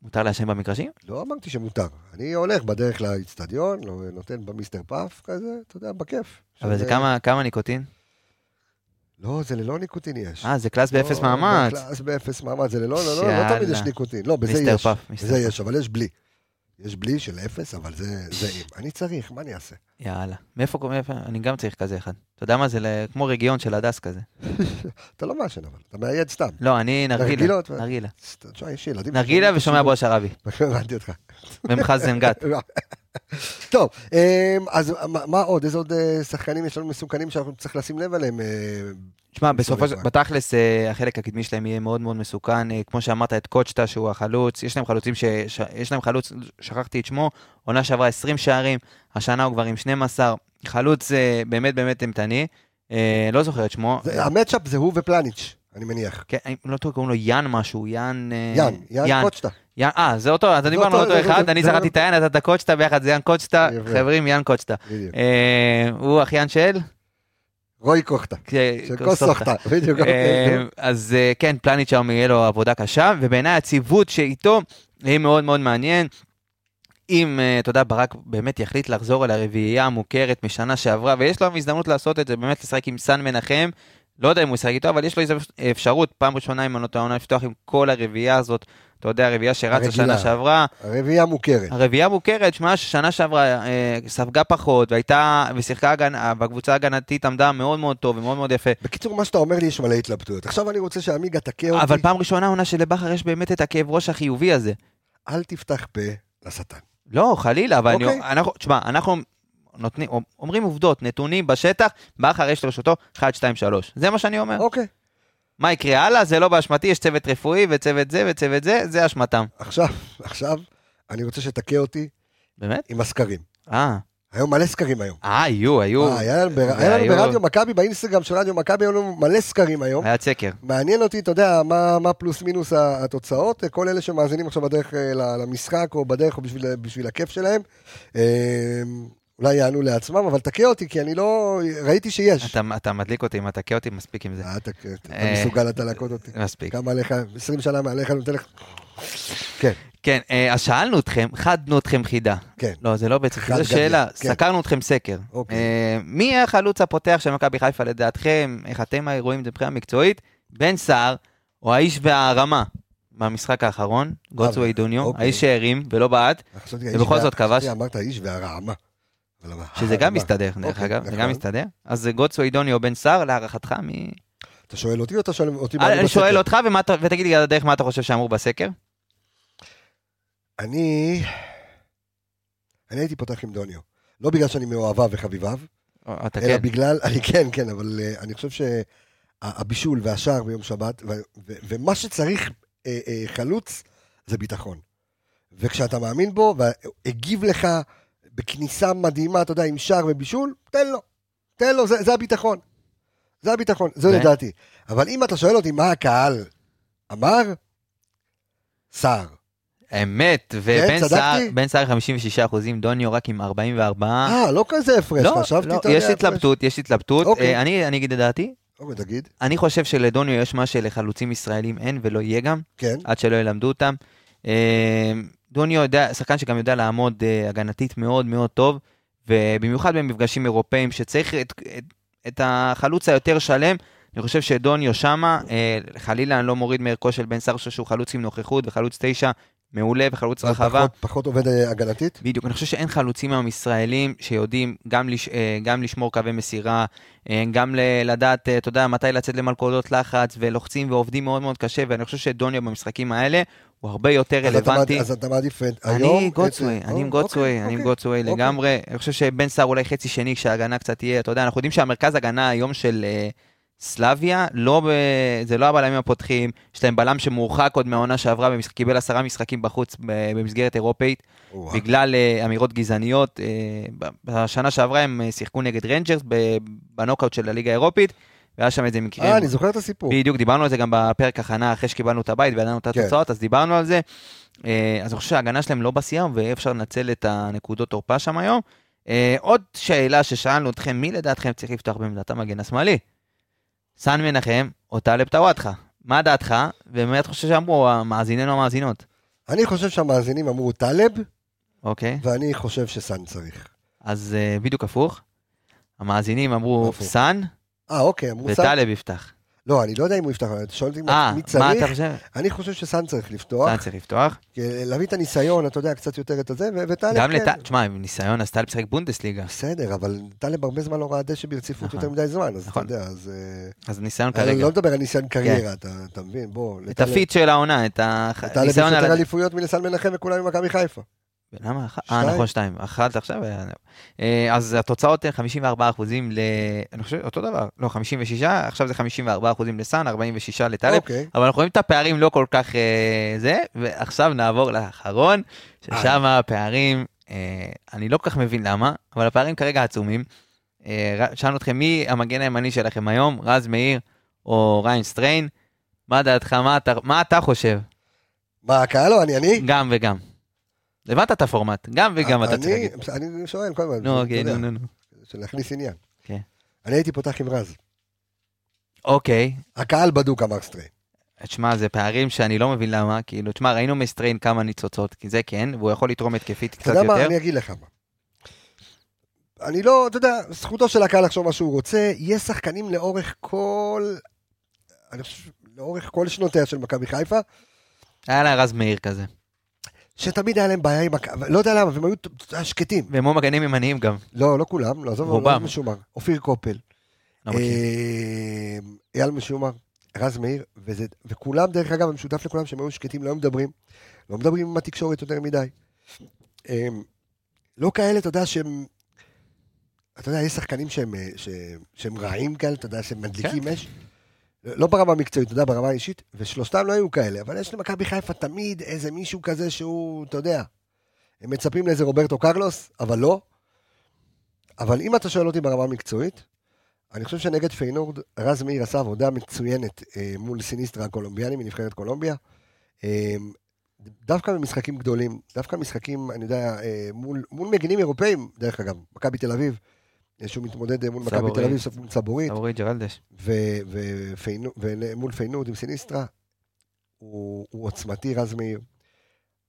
Speaker 2: מותר לעשן במגרשים?
Speaker 1: לא אמרתי שמותר. אני הולך בדרך לאיצטדיון, לא- נותן במיסטר פאף כזה, אתה יודע, בכיף.
Speaker 2: אבל זה
Speaker 1: שזה-
Speaker 2: כמה- כמה ניקוטין?
Speaker 1: לא, זה ללא ניקוטין יש.
Speaker 2: אה, זה קלאס באפס
Speaker 1: לא,
Speaker 2: מאמץ.
Speaker 1: בקלאס באפס מאמץ, זה ללא, לא, לא, לא תמיד
Speaker 2: שאלה.
Speaker 1: יש ניקוטין. לא, בזה
Speaker 2: מיסטר
Speaker 1: יש.
Speaker 2: פאף,
Speaker 1: זה
Speaker 2: מיסטר פאף.
Speaker 1: יש, אבל יש בלי. יש בלי של אפס, אבל זה זה אם. אני צריך, מה אני אעשה?
Speaker 2: יאללה. מאיפה, מאיפה, אני גם צריך כזה אחד. אתה יודע מה זה, ל- כמו רגיון של הדס כזה.
Speaker 1: אתה לא מעשן אבל, אתה מאייד סתם.
Speaker 2: לא, אני נרגילה.
Speaker 1: נרגילות, ו-
Speaker 2: נרגילה.
Speaker 1: סת- תשמע, יש ילדים...
Speaker 2: נרגילה
Speaker 1: ששומעים
Speaker 2: ושומע בועז שרבי.
Speaker 1: את השידור. [LAUGHS] הבנתי אותך. [LAUGHS]
Speaker 2: ומחזן גת.
Speaker 1: טוב, אמ, אז מה- מה עוד? איזה עוד אה, שחקנים יש לנו מסוכנים שאנחנו צריך לשים לב אליהם? אה,
Speaker 2: תשמע, בסופו של...
Speaker 1: סורי,
Speaker 2: בתכלס, אה, החלק הקדמי שלהם יהיה מאוד מאוד מסוכן. אה, כמו שאמרת, את קוצ'טה, שהוא החלוץ. יש להם חלוצים ש... ש... יש להם חלוץ, שכחתי את שמו, עונה שעברה 20 שערים, השנה הוא כבר עם 12. חלוץ אה, באמת באמת אימתני. אה, לא זוכר את שמו.
Speaker 1: זה- המצ'אפ זה הוא ופלניץ', אני מניח.
Speaker 2: כן, אני לא טועה, קוראים לו יאן משהו, יאן... אה,
Speaker 1: יאן, יאן קוצ'טה.
Speaker 2: יאן, אה, זה אותו, אז דיברנו על
Speaker 1: אותו,
Speaker 2: אותו
Speaker 1: זה-
Speaker 2: אחד,
Speaker 1: זה-
Speaker 2: אני
Speaker 1: זה-
Speaker 2: זכרתי את היאן, אתה את הקוצ'טה ביחד, זה יאן קוצ'טה,
Speaker 1: יפה. כן.
Speaker 2: חברים, יאן קוצ'טה.
Speaker 1: בדיוק.
Speaker 2: אה, הוא אחיין של?
Speaker 1: רוי קוכטה. של קוסוכטה. בדיוק. אוקיי,
Speaker 2: אה, אז אה, כן, פלניץ' שם יהיה לו עבודה קשה, ובעיניי הציוות שאיתו יהיה מאוד מאוד מעניין. אם, אה, אתה יודע, ברק באמת יחליט לחזור אל הרביעייה המוכרת משנה שעברה, ויש לו הזדמנות לעשות את זה, באמת לשחק עם סן מנחם, לא יודע אם הוא ישחק איתו, אבל יש לו איזו אפשרות, פעם ראשונה, אם אני לא טועה, העונה, לפתוח עם כל הרביעייה הזאת, אתה יודע, הרביעייה שרצה
Speaker 1: הרגילה.
Speaker 2: שנה שעברה,
Speaker 1: הרביעייה מוכרת.
Speaker 2: כן. הרביעייה מוכרת, שמע, ששנה שעברה אה, ספגה פחות, והייתה, ושיחקה הגנ... בקבוצה ההגנתית עמדה מאוד מאוד טוב ומאוד מאוד יפה.
Speaker 1: בקיצור, מה שאתה אומר לי יש מלא התלבטויות. עכשיו אני רוצה שעמיגה תכה אותי,
Speaker 2: אבל פעם ראשונה עונה שלבכר יש באמת את הכאב ראש החיובי הזה.
Speaker 1: אל תפתח פה לשטן.
Speaker 2: לא, חלילה, אבל אני,
Speaker 1: אוקיי.
Speaker 2: אנחנו, תשמע, אנחנו נותנים, אומרים עובדות, נתונים בשטח, בכר יש לרשותו 1, 2, 3. זה מה שאני אומר.
Speaker 1: אוקיי,
Speaker 2: מה יקרה הלאה? זה לא באשמתי, יש צוות רפואי וצוות זה וצוות זה, זה אשמתם.
Speaker 1: עכשיו, עכשיו, אני רוצה שתכה אותי
Speaker 2: באמת?
Speaker 1: עם הסקרים.
Speaker 2: אה,
Speaker 1: היום מלא סקרים היום.
Speaker 2: אה, יהיו, היו.
Speaker 1: אה, היה לנו בר-
Speaker 2: זה
Speaker 1: היה לנו
Speaker 2: היו-
Speaker 1: ברדיו מכבי, באינסטגרם של רדיו מכבי, היו לנו מלא סקרים היום.
Speaker 2: היה צקר.
Speaker 1: מעניין אותי, אתה יודע, מה, מה פלוס מינוס ה- התוצאות, אה, כל אלה שמאזינים עכשיו בדרך אה, ל- למשחק, או בדרך, או בשביל, בשביל הכיף שלהם, אה, אולי יענו לעצמם, אבל תכה אותי, כי אני לא... ראיתי שיש.
Speaker 2: אתה, אתה מדליק אותי, אם אתה קה אותי, מספיק עם זה.
Speaker 1: אה, אתה אתה
Speaker 2: אה,
Speaker 1: מסוגל אתה להכות אותי.
Speaker 2: מספיק.
Speaker 1: כמה עליך, 20 שנה מעליך, אני נותן לך... כן,
Speaker 2: כן, אה, אז שאלנו אתכם, חדנו אתכם חידה.
Speaker 1: כן.
Speaker 2: לא, זה לא בעצם,
Speaker 1: חד
Speaker 2: זו
Speaker 1: גדיה,
Speaker 2: שאלה,
Speaker 1: כן.
Speaker 2: סקרנו אתכם סקר.
Speaker 1: אוקיי.
Speaker 2: אה, מי יהיה החלוץ הפותח של מכבי חיפה לדעתכם? איך אתם רואים את זה מבחינה מקצועית? בן סער, או האיש והרמה מהמשחק האחרון, גוצו
Speaker 1: אבל,
Speaker 2: אידוניו,
Speaker 1: אה, אוקיי.
Speaker 2: האיש שהרים ולא בעט,
Speaker 1: חשבתי,
Speaker 2: ובכל
Speaker 1: האיש
Speaker 2: זאת
Speaker 1: וה-
Speaker 2: כבש.
Speaker 1: חשבתי, אמרת האיש והרעמה. אבל אמר,
Speaker 2: שזה גם
Speaker 1: הרעמה.
Speaker 2: מסתדר, דרך
Speaker 1: אה, אוקיי,
Speaker 2: אגב, זה גם
Speaker 1: נכון.
Speaker 2: מסתדר. אז זה גוצו אידוניו או בן סער, להערכתך, מי... אה,
Speaker 1: אתה שואל אותי או אתה שואל אותי? מה
Speaker 2: אני
Speaker 1: בסקר?
Speaker 2: שואל אותך, ומה אתה- ותגיד לי על הדרך מה אתה חושב שאמור בסקר?
Speaker 1: אני... אני הייתי פותח עם דוניו. לא בגלל שאני מאוהביו וחביביו,
Speaker 2: או- אתה
Speaker 1: אלא
Speaker 2: כן.
Speaker 1: בגלל, [LAUGHS] אני כן, כן, אבל אה, אני חושב שהבישול והשער ביום שבת, ו- ו- ומה שצריך אה, אה, חלוץ, זה ביטחון. וכשאתה מאמין בו, והגיב לך בכניסה מדהימה, אתה יודע, עם שער ובישול, תן לו. תן לו, זה, זה הביטחון. זה הביטחון, זה
Speaker 2: ו-
Speaker 1: לדעתי. אבל אם אתה שואל אותי מה הקהל אמר, סער.
Speaker 2: אמת, ובן
Speaker 1: כן, צדקתי?
Speaker 2: סער- בן סער 56%, דוניו רק עם 44%.
Speaker 1: אה, לא כזה הפרש,
Speaker 2: לא,
Speaker 1: חשבתי,
Speaker 2: לא,
Speaker 1: אתה יודע,
Speaker 2: יש
Speaker 1: הפרש.
Speaker 2: התלבטות, יש התלבטות.
Speaker 1: אוקיי.
Speaker 2: אה, אני אני אגיד את דעתי.
Speaker 1: אוקיי, תגיד,
Speaker 2: אני חושב שלדוניו יש מה שלחלוצים ישראלים אין ולא יהיה גם,
Speaker 1: כן.
Speaker 2: עד שלא ילמדו אותם. אה, דוניו יודע, שחקן שגם יודע לעמוד אה, הגנתית מאוד מאוד טוב, ובמיוחד במפגשים אירופאים, שצריך את, את, את החלוץ היותר שלם. אני חושב שדוניו שמה, אה, חלילה אני לא מוריד מערכו של בן סער, אני חושב שהוא חלוץ עם נוכחות וחלוץ תשע מעולה וחלוץ רחבה.
Speaker 1: פחות- פחות עובד אה, הגנתית?
Speaker 2: בדיוק, אני חושב שאין חלוצים היום ישראלים שיודעים גם, לש, אה, גם לשמור קווי מסירה, אה, גם ל- לדעת, אה, אתה יודע, מתי לצאת למלכודות לחץ, ולוחצים ועובדים מאוד מאוד קשה, ואני חושב שדוניו במשחקים האלה הוא הרבה יותר
Speaker 1: אז אתה
Speaker 2: רלוונטי.
Speaker 1: מעד- אז אתה מעדיף אה, היום...
Speaker 2: אני
Speaker 1: את-
Speaker 2: גוטסווי,
Speaker 1: אה,
Speaker 2: אני עם
Speaker 1: אוקיי,
Speaker 2: גוטסווי, אני עם
Speaker 1: אוקיי.
Speaker 2: גוטסווי
Speaker 1: אוקיי.
Speaker 2: לגמרי. אני חושב שבן סער אולי חצי שני כשההגנה קצת תהיה, אתה יודע, אנחנו יודעים שהמרכז הגנה היום של אה, סלביה, לא ב- זה לא הבלמים הפותחים, יש להם בלם שמורחק עוד מהעונה שעברה, במשחק- קיבל עשרה משחקים בחוץ ב- במסגרת אירופאית.
Speaker 1: וואו.
Speaker 2: בגלל אה, אמירות גזעניות. אה, ב- בשנה שעברה הם אה, שיחקו נגד רנג'רס ב- בנוקאוט של הליגה האירופית, והיה שם איזה מקרה.
Speaker 1: אה, אני זוכר את הסיפור.
Speaker 2: בדיוק, דיברנו על זה גם בפרק הכנה אחרי שקיבלנו את הבית וידענו את
Speaker 1: כן.
Speaker 2: התוצאות, אז דיברנו על זה. אה, אז אני חושב שההגנה שלהם לא בשיאה, ואי אפשר לנצל את הנקודות תורפה שם היום. אה, עוד שאלה ששאלנו אתכם, מי לדעתכם צריך לפתוח בעמדת המגן השמאלי? סאן מנחם או טלב טוואטחה? מה דעתך, ומה אתה חושב שאמרו המאזיננו המאזינות?
Speaker 1: אני חושב שהמאזינים אמרו טלב,
Speaker 2: אוקיי.
Speaker 1: ואני חושב שסאן צריך.
Speaker 2: אז אה, בדיוק הפוך. המאזינים אמרו
Speaker 1: הפוך.
Speaker 2: סאן,
Speaker 1: אה, אוקיי, אמרו סאן.
Speaker 2: וטלב יפתח.
Speaker 1: לא, אני לא יודע אם הוא יפתח, אבל אתה שואל אותי
Speaker 2: אה,
Speaker 1: מה- מי
Speaker 2: מה אתה
Speaker 1: צריך.
Speaker 2: חושב?
Speaker 1: אני חושב שסאן צריך לפתוח.
Speaker 2: סאן צריך לפתוח.
Speaker 1: כי להביא את הניסיון, אתה יודע, קצת יותר את הזה, ו- וטלב,
Speaker 2: גם
Speaker 1: כן.
Speaker 2: לטלב, תשמע, עם ניסיון, אז טלב שיחק בונדסליגה.
Speaker 1: בסדר, אבל טלב הרבה זמן לא ראה דשא ברציפות
Speaker 2: נכון.
Speaker 1: יותר מדי זמן, אז אתה
Speaker 2: נכון.
Speaker 1: יודע, אז... אה,
Speaker 2: אז ניסיון
Speaker 1: אני
Speaker 2: כרגע. כן.
Speaker 1: לא מדבר על ניסיון קריירה, אתה אתה מבין? בוא,
Speaker 2: את הפיט של העונה, את
Speaker 1: טלב יש
Speaker 2: הניסיון על...
Speaker 1: יותר אליפויות מלסן מנחם וכולם ממכבי חיפה.
Speaker 2: למה? אחת?
Speaker 1: שתיים.
Speaker 2: אה, נכון, שתיים. אחת עכשיו. אה, אה, אז התוצאות הן 54 אחוזים ל... אני חושב, אותו דבר. לא, 56, עכשיו זה 54 אחוזים לסאן, 46 לטלב.
Speaker 1: אוקיי.
Speaker 2: אבל אנחנו רואים את הפערים לא כל כך אה, זה, ועכשיו נעבור לאחרון, ששם הפערים, אה, אני לא כל כך מבין למה, אבל הפערים כרגע עצומים. אה, ר- שאלנו אתכם מי המגן הימני שלכם היום, רז מאיר או ריין סטריין, מה דעתך, מה אתה, מה אתה חושב?
Speaker 1: מה, הקהל או אני? אני?
Speaker 2: גם וגם. הבנת את הפורמט, גם וגם אתה
Speaker 1: אני-
Speaker 2: צריך להגיד.
Speaker 1: אני שואל כל הזמן.
Speaker 2: נו,
Speaker 1: אתה
Speaker 2: אוקיי,
Speaker 1: יודע,
Speaker 2: נו, נו, נו.
Speaker 1: להכניס עניין.
Speaker 2: כן.
Speaker 1: אני הייתי פותח עם רז.
Speaker 2: אוקיי,
Speaker 1: הקהל בדוק אמר סטריין.
Speaker 2: תשמע, זה פערים שאני לא מבין למה, כאילו, תשמע, ראינו מסטריין כמה ניצוצות, כי זה כן, והוא יכול לתרום התקפית
Speaker 1: אתה
Speaker 2: קצת
Speaker 1: יודע מה,
Speaker 2: יותר.
Speaker 1: אני אגיד לך מה. אני לא, אתה יודע, זכותו של הקהל לחשוב מה שהוא רוצה, יש שחקנים לאורך כל... אני חושב, לאורך כל שנותיה של מכבי חיפה,
Speaker 2: היה לה רז מאיר כזה.
Speaker 1: שתמיד היה להם בעיה עם הקו, לא יודע למה, והם היו ת- ת- שקטים.
Speaker 2: והם היו מגנים ימניים גם.
Speaker 1: לא, לא כולם, לא עזוב,
Speaker 2: רובם.
Speaker 1: רובם. משומר. אופיר קופל,
Speaker 2: לא מכיר.
Speaker 1: אה, אייל משומר, רז מאיר, וזה, וכולם, דרך אגב, המשותף לכולם שהם היו שקטים, לא היו מדברים. לא מדברים עם התקשורת יותר מדי. אה, לא כאלה, אתה יודע, שהם... אתה יודע, יש שחקנים שהם, אה, שהם, שהם רעים כאלה, אתה יודע, שהם
Speaker 2: כן.
Speaker 1: מדליקים אש. לא ברמה המקצועית, אתה יודע, ברמה האישית, ושלושתם לא היו כאלה, אבל יש למכבי חיפה תמיד איזה מישהו כזה שהוא, אתה יודע, הם מצפים לאיזה רוברטו קרלוס, אבל לא. אבל אם אתה שואל אותי ברמה המקצועית, אני חושב שנגד פיינורד, רז מאיר עשה עבודה מצוינת אה, מול סיניסטרה הקולומביאני מנבחרת קולומביה. אה, דווקא במשחקים גדולים, דווקא משחקים, אני יודע, אה, מול, מול מגינים אירופאים, דרך אגב, מכבי תל אביב, אה, שהוא מתמודד אה, מול מכבי
Speaker 2: סבורית.
Speaker 1: תל אביב, מול סבורית.
Speaker 2: אורי ג'רלדש.
Speaker 1: ו- ו- פיינו- ומול פיינורד עם סיניסטרה, הוא, הוא עוצמתי, רז מאיר.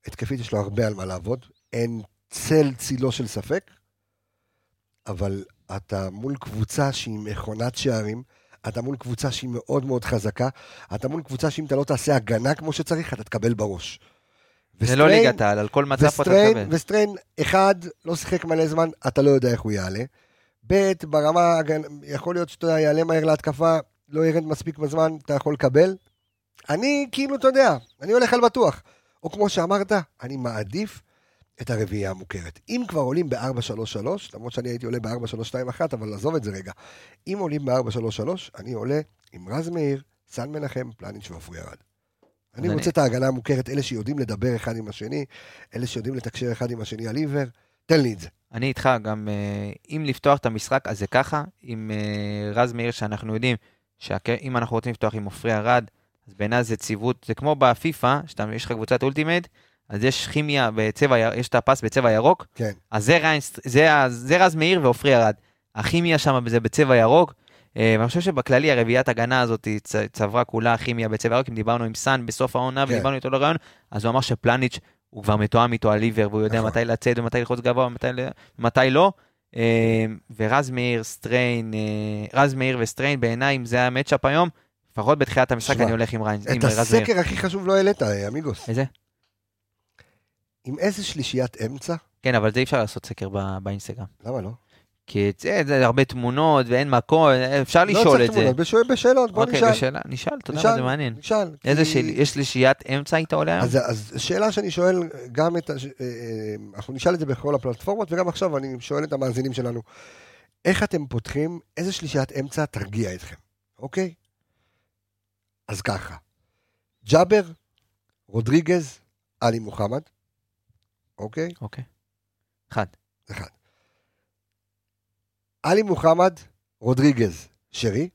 Speaker 1: התקפית יש לו הרבה על מה לעבוד, אין צל צילו של ספק, אבל אתה מול קבוצה שהיא מכונת שערים, אתה מול קבוצה שהיא מאוד מאוד חזקה, אתה מול קבוצה שאם אתה לא תעשה הגנה כמו שצריך, אתה תקבל בראש.
Speaker 2: זה לא
Speaker 1: וסטריין-
Speaker 2: ליגת העל, על כל מצב פה אתה
Speaker 1: וסטריין,
Speaker 2: מקבל.
Speaker 1: וסטריין, אחד, לא שיחק מלא זמן, אתה לא יודע איך הוא יעלה. ב', ברמה, ההגנ- יכול להיות שאתה יודע, יעלה מהר להתקפה, לא ירד מספיק בזמן, אתה יכול לקבל. אני, כאילו, אתה יודע, אני הולך על בטוח. או כמו שאמרת, אני מעדיף את הרביעייה המוכרת. אם כבר עולים ב-4-3-3, למרות שאני הייתי עולה ב-4-3-2-1, אבל עזוב את זה רגע. אם עולים ב-4-3-3, אני עולה עם רז מאיר, סן מנחם, פלניץ' ועפרי ארד. אני
Speaker 2: אני-
Speaker 1: רוצה את ההגנה המוכרת, אלה שיודעים לדבר אחד עם השני, אלה שיודעים לתקשר אחד עם השני על עיוור, תן לי את זה.
Speaker 2: אני איתך גם, אה, אם לפתוח את המשחק, אז זה ככה, עם אה, רז מאיר, שאנחנו יודעים, שאם אנחנו רוצים לפתוח עם עופרי ארד, אז בעיניי זה ציוות, זה כמו בפיפא, שיש לך קבוצת אולטימט, אז יש כימיה בצבע, י- יש את הפס בצבע ירוק,
Speaker 1: כן.
Speaker 2: אז זה, ריינס- זה, ה- זה רז מאיר ועופרי ארד. הכימיה שם זה בצבע ירוק. אה, ואני חושב שבכללי הרביעיית הגנה הזאת צ- צברה כולה כימיה בצבע ירוק. אם דיברנו עם סאן בסוף העונה
Speaker 1: כן.
Speaker 2: ודיברנו איתו לרעיון, אז הוא אמר שפלניץ' הוא כבר מתואם איתו על ליבר, והוא יודע
Speaker 1: נכון.
Speaker 2: מתי לצאת ומתי ללחוץ גבוה ומתי ל- מתי לא. אה, ורז מאיר, סטריין, אה, רז מאיר וסטריין, בעיניי, אם זה היה מצ'אפ היום, לפחות בתחילת המשחק
Speaker 1: שמע,
Speaker 2: אני הולך עם ריינס, עם
Speaker 1: את
Speaker 2: רז מאיר.
Speaker 1: הסקר הכי חשוב לא העלית, אה, אמיגוס.
Speaker 2: איזה?
Speaker 1: עם איזה שלישיית אמצע?
Speaker 2: כן, אבל זה אי אפשר לעשות סקר ב- באינסטגרם.
Speaker 1: למה לא? כי
Speaker 2: כי זה, זה הרבה תמונות ואין מקום, אפשר
Speaker 1: לא
Speaker 2: לשאול
Speaker 1: צריך
Speaker 2: את זה.
Speaker 1: תמונות, בשואל- בשאלות, בוא
Speaker 2: אוקיי,
Speaker 1: נשאל.
Speaker 2: בשאלה, נשאל, אתה יודע
Speaker 1: נשאל.
Speaker 2: מה זה מעניין.
Speaker 1: נשאל.
Speaker 2: איזה
Speaker 1: כי-
Speaker 2: שאל, יש שלישיית אמצע היית עולה היום?
Speaker 1: אז, אז שאלה שאני שואל גם את, הש- אה, אה, אנחנו נשאל את זה בכל הפלטפורמות, וגם עכשיו אני שואל את המאזינים שלנו, איך אתם פותחים, איזה שלישיית אמצע תרגיע אתכם, אוקיי? אז ככה, ג'אבר, רודריגז, עלי מוחמד, אוקיי?
Speaker 2: אוקיי. אחד.
Speaker 1: אחד. עלי מוחמד, רודריגז, שרי,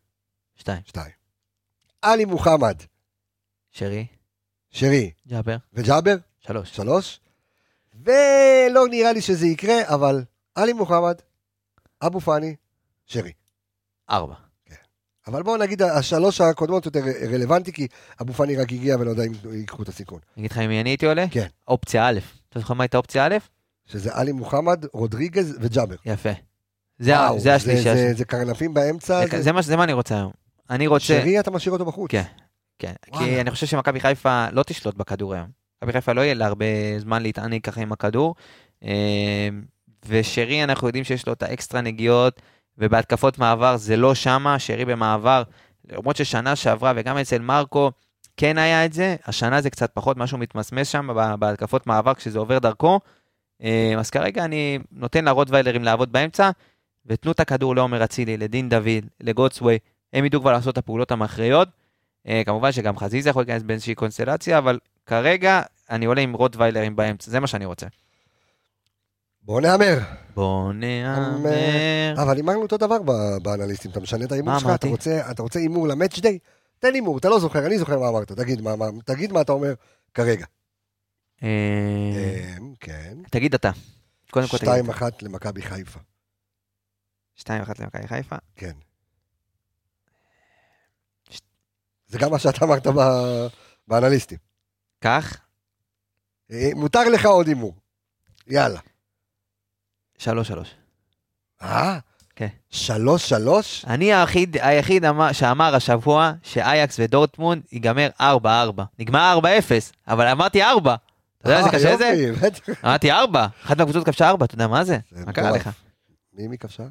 Speaker 2: שתיים.
Speaker 1: שתיים. עלי מוחמד,
Speaker 2: שרי.
Speaker 1: שרי
Speaker 2: ג'אבר.
Speaker 1: וג'אבר,
Speaker 2: שלוש.
Speaker 1: שלוש. ולא נראה לי שזה יקרה, אבל עלי מוחמד, אבו פאני, שרי.
Speaker 2: ארבע.
Speaker 1: אבל בואו נגיד השלוש הקודמות יותר רלוונטי, כי אבו פאני רק הגיע ולא יודע אם ייקחו את הסיכון.
Speaker 2: אני אגיד לך עם מי אני הייתי עולה?
Speaker 1: כן.
Speaker 2: אופציה א'. אתה זוכר מה הייתה אופציה א'?
Speaker 1: שזה עלי מוחמד, רודריגז וג'אבר.
Speaker 2: יפה. זה ה-
Speaker 1: וואו,
Speaker 2: זה השלישייה.
Speaker 1: זה-
Speaker 2: שלי.
Speaker 1: זה קרנפים באמצע,
Speaker 2: זה-
Speaker 1: זה-
Speaker 2: זה מה ש- זה מה אני רוצה היום. אני רוצה...
Speaker 1: שרי אתה משאיר אותו בחוץ.
Speaker 2: כן. כן.
Speaker 1: וואלה.
Speaker 2: כי אני חושב שמכבי חיפה לא תשלוט בכדור היום. מכבי חיפה לא יהיה לה הרבה זמן להתענג ככה עם הכדור. אה, ושרי, אנחנו יודעים שיש לו את האקסטרה נגיעות, ובהתקפות מעבר זה לא שמה, שרי במעבר, למרות ששנה שעברה וגם אצל מרקו כן היה את זה, השנה זה קצת פחות, משהו מתמסמס שם בה- בהתקפות מעבר כשזה עובר דרכו. אה, אז כרגע אני נותן לרוטוויילרים לעבוד באמצע, ותנו את הכדור לעומר אצילי, לדין דוד, לגוטסווי, הם ידעו כבר לעשות את הפעולות המכריעות. אה, כמובן שגם חזיזה יכול להיכנס באיזושהי קונסטלציה, אבל כרגע אני עולה עם רוטוויילרים באמצע, זה מה שאני רוצה.
Speaker 1: בואו נהמר.
Speaker 2: בוא נהמר.
Speaker 1: אבל הימרנו אותו דבר ב- באנליסטים, אתה משנה את ההימור
Speaker 2: מה
Speaker 1: שלך, אתה
Speaker 2: אמרתי?
Speaker 1: רוצה- אתה רוצה הימור למאץ' דיי? תן הימור, אתה לא זוכר, אני זוכר מה אמרת, תגיד מה- מה- תגיד מה אתה אומר כרגע.
Speaker 2: אה,
Speaker 1: אמ, כן.
Speaker 2: תגיד אתה. קודם כל תגיד.
Speaker 1: 2-1 למכבי חיפה.
Speaker 2: 2-1 למכבי חיפה.
Speaker 1: כן. זה גם מה שאתה אמרת ב- באנליסטים.
Speaker 2: כך,
Speaker 1: אה, מותר לך עוד הימור. יאללה.
Speaker 2: 3-3.
Speaker 1: אה?
Speaker 2: כן.
Speaker 1: שלוש שלוש?
Speaker 2: אני היחיד, היחיד אמר, שאמר השבוע שאייקס ודורטמונד ייגמר 4-4. נגמר 4-0, אבל אמרתי 4. אתה יודע איזה
Speaker 1: אה,
Speaker 2: קשה זה?
Speaker 1: יופי, בטח.
Speaker 2: אמרתי 4. אחת מהקבוצות כבשה 4, אתה יודע מה זה?
Speaker 1: זה
Speaker 2: מה קרה
Speaker 1: מטורף.
Speaker 2: לך?
Speaker 1: מי מי כבשה?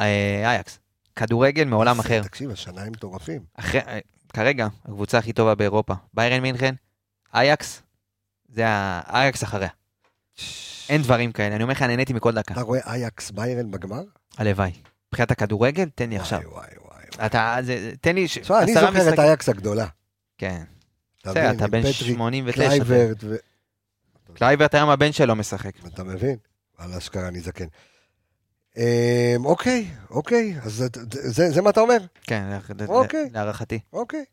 Speaker 2: אה, אייקס. כדורגל מעולם אחר.
Speaker 1: אה, תקשיב, השנה הם מטורפים.
Speaker 2: אחרי, אה, כרגע, הקבוצה הכי טובה באירופה. ביירן מינכן, אייקס, זה ה- אייקס אחריה. אין דברים כאלה, אני אומר לך, נהניתי מכל דקה.
Speaker 1: אתה רואה אייקס ביירן בגמר?
Speaker 2: הלוואי. מבחינת הכדורגל, תן לי עכשיו.
Speaker 1: וואי וואי וואי.
Speaker 2: אתה, זה- זה- תן לי ש-
Speaker 1: תשמע, אני
Speaker 2: עשרה
Speaker 1: זוכר את
Speaker 2: משחקים.
Speaker 1: אייקס הגדולה.
Speaker 2: כן.
Speaker 1: אתה
Speaker 2: בסדר,
Speaker 1: מבין?
Speaker 2: אתה
Speaker 1: עם
Speaker 2: בן
Speaker 1: פטריק,
Speaker 2: 89.
Speaker 1: קלייברט, ו-
Speaker 2: קלייברט היום הבן שלו משחק.
Speaker 1: אתה מבין? על אשכרה אני זקן. אמ, אוקיי, אוקיי, אז זה- זה זה מה אתה אומר?
Speaker 2: כן, לה-
Speaker 1: אוקיי.
Speaker 2: להערכתי.
Speaker 1: אוקיי.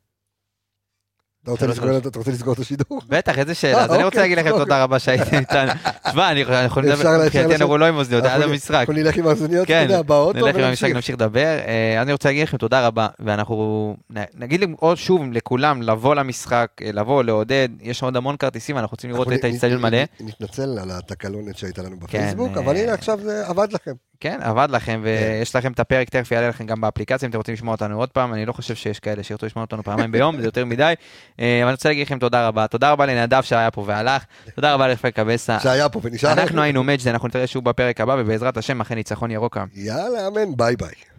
Speaker 1: אתה רוצה
Speaker 2: שלוש,
Speaker 1: לסגור
Speaker 2: שלוש.
Speaker 1: את- אתה רוצה לסגור את
Speaker 2: [LAUGHS]
Speaker 1: השידור?
Speaker 2: בטח, איזה שאלה.
Speaker 1: אה,
Speaker 2: אז אני רוצה
Speaker 1: אוקיי,
Speaker 2: להגיד לכם
Speaker 1: אוקיי.
Speaker 2: תודה רבה שהייתם איתנו. [LAUGHS] תשמע, אני- אנחנו יכולים
Speaker 1: אפשר
Speaker 2: לדבר,
Speaker 1: לה- אפשר
Speaker 2: מבחינתנו
Speaker 1: לעשות-
Speaker 2: הוא לא עם אוזניות, עד
Speaker 1: אנחנו-
Speaker 2: המשחק.
Speaker 1: אנחנו נלך עם האוזניות, אתה
Speaker 2: כן,
Speaker 1: יודע, באוטו
Speaker 2: נלך עם המשחק,
Speaker 1: ונמשיך.
Speaker 2: נמשיך לדבר. אה, אני רוצה להגיד לכם תודה רבה, ואנחנו נ- נגיד לכם עוד שוב לכולם לבוא למשחק, אה, לבוא, לעודד, יש עוד המון כרטיסים, אנחנו רוצים לראות
Speaker 1: אנחנו
Speaker 2: את
Speaker 1: נ-
Speaker 2: האיצטדיון
Speaker 1: נ-
Speaker 2: מלא.
Speaker 1: נ- נתנצל על התקלונת שהייתה לנו בפייסבוק,
Speaker 2: אה,
Speaker 1: אבל הנה עכשיו זה עבד לכם.
Speaker 2: כן, עבד לכם, ויש לכם את הפרק, תכף יעלה לכם גם באפליקציה, אם אתם רוצים לשמוע אותנו עוד פעם, אני לא חושב שיש כאלה שירצו לשמוע אותנו פעמיים ביום, זה יותר מדי. אה, אבל אני רוצה להגיד לכם תודה רבה, תודה רבה לנדב שהיה פה והלך, תודה רבה לפרק הבסה.
Speaker 1: שהיה פה ונשאר.
Speaker 2: אנחנו היינו מג'ד, אנחנו נתראה שוב בפרק הבא, ובעזרת השם, אחרי ניצחון ירוקה.
Speaker 1: יאללה, אמן, ביי ביי.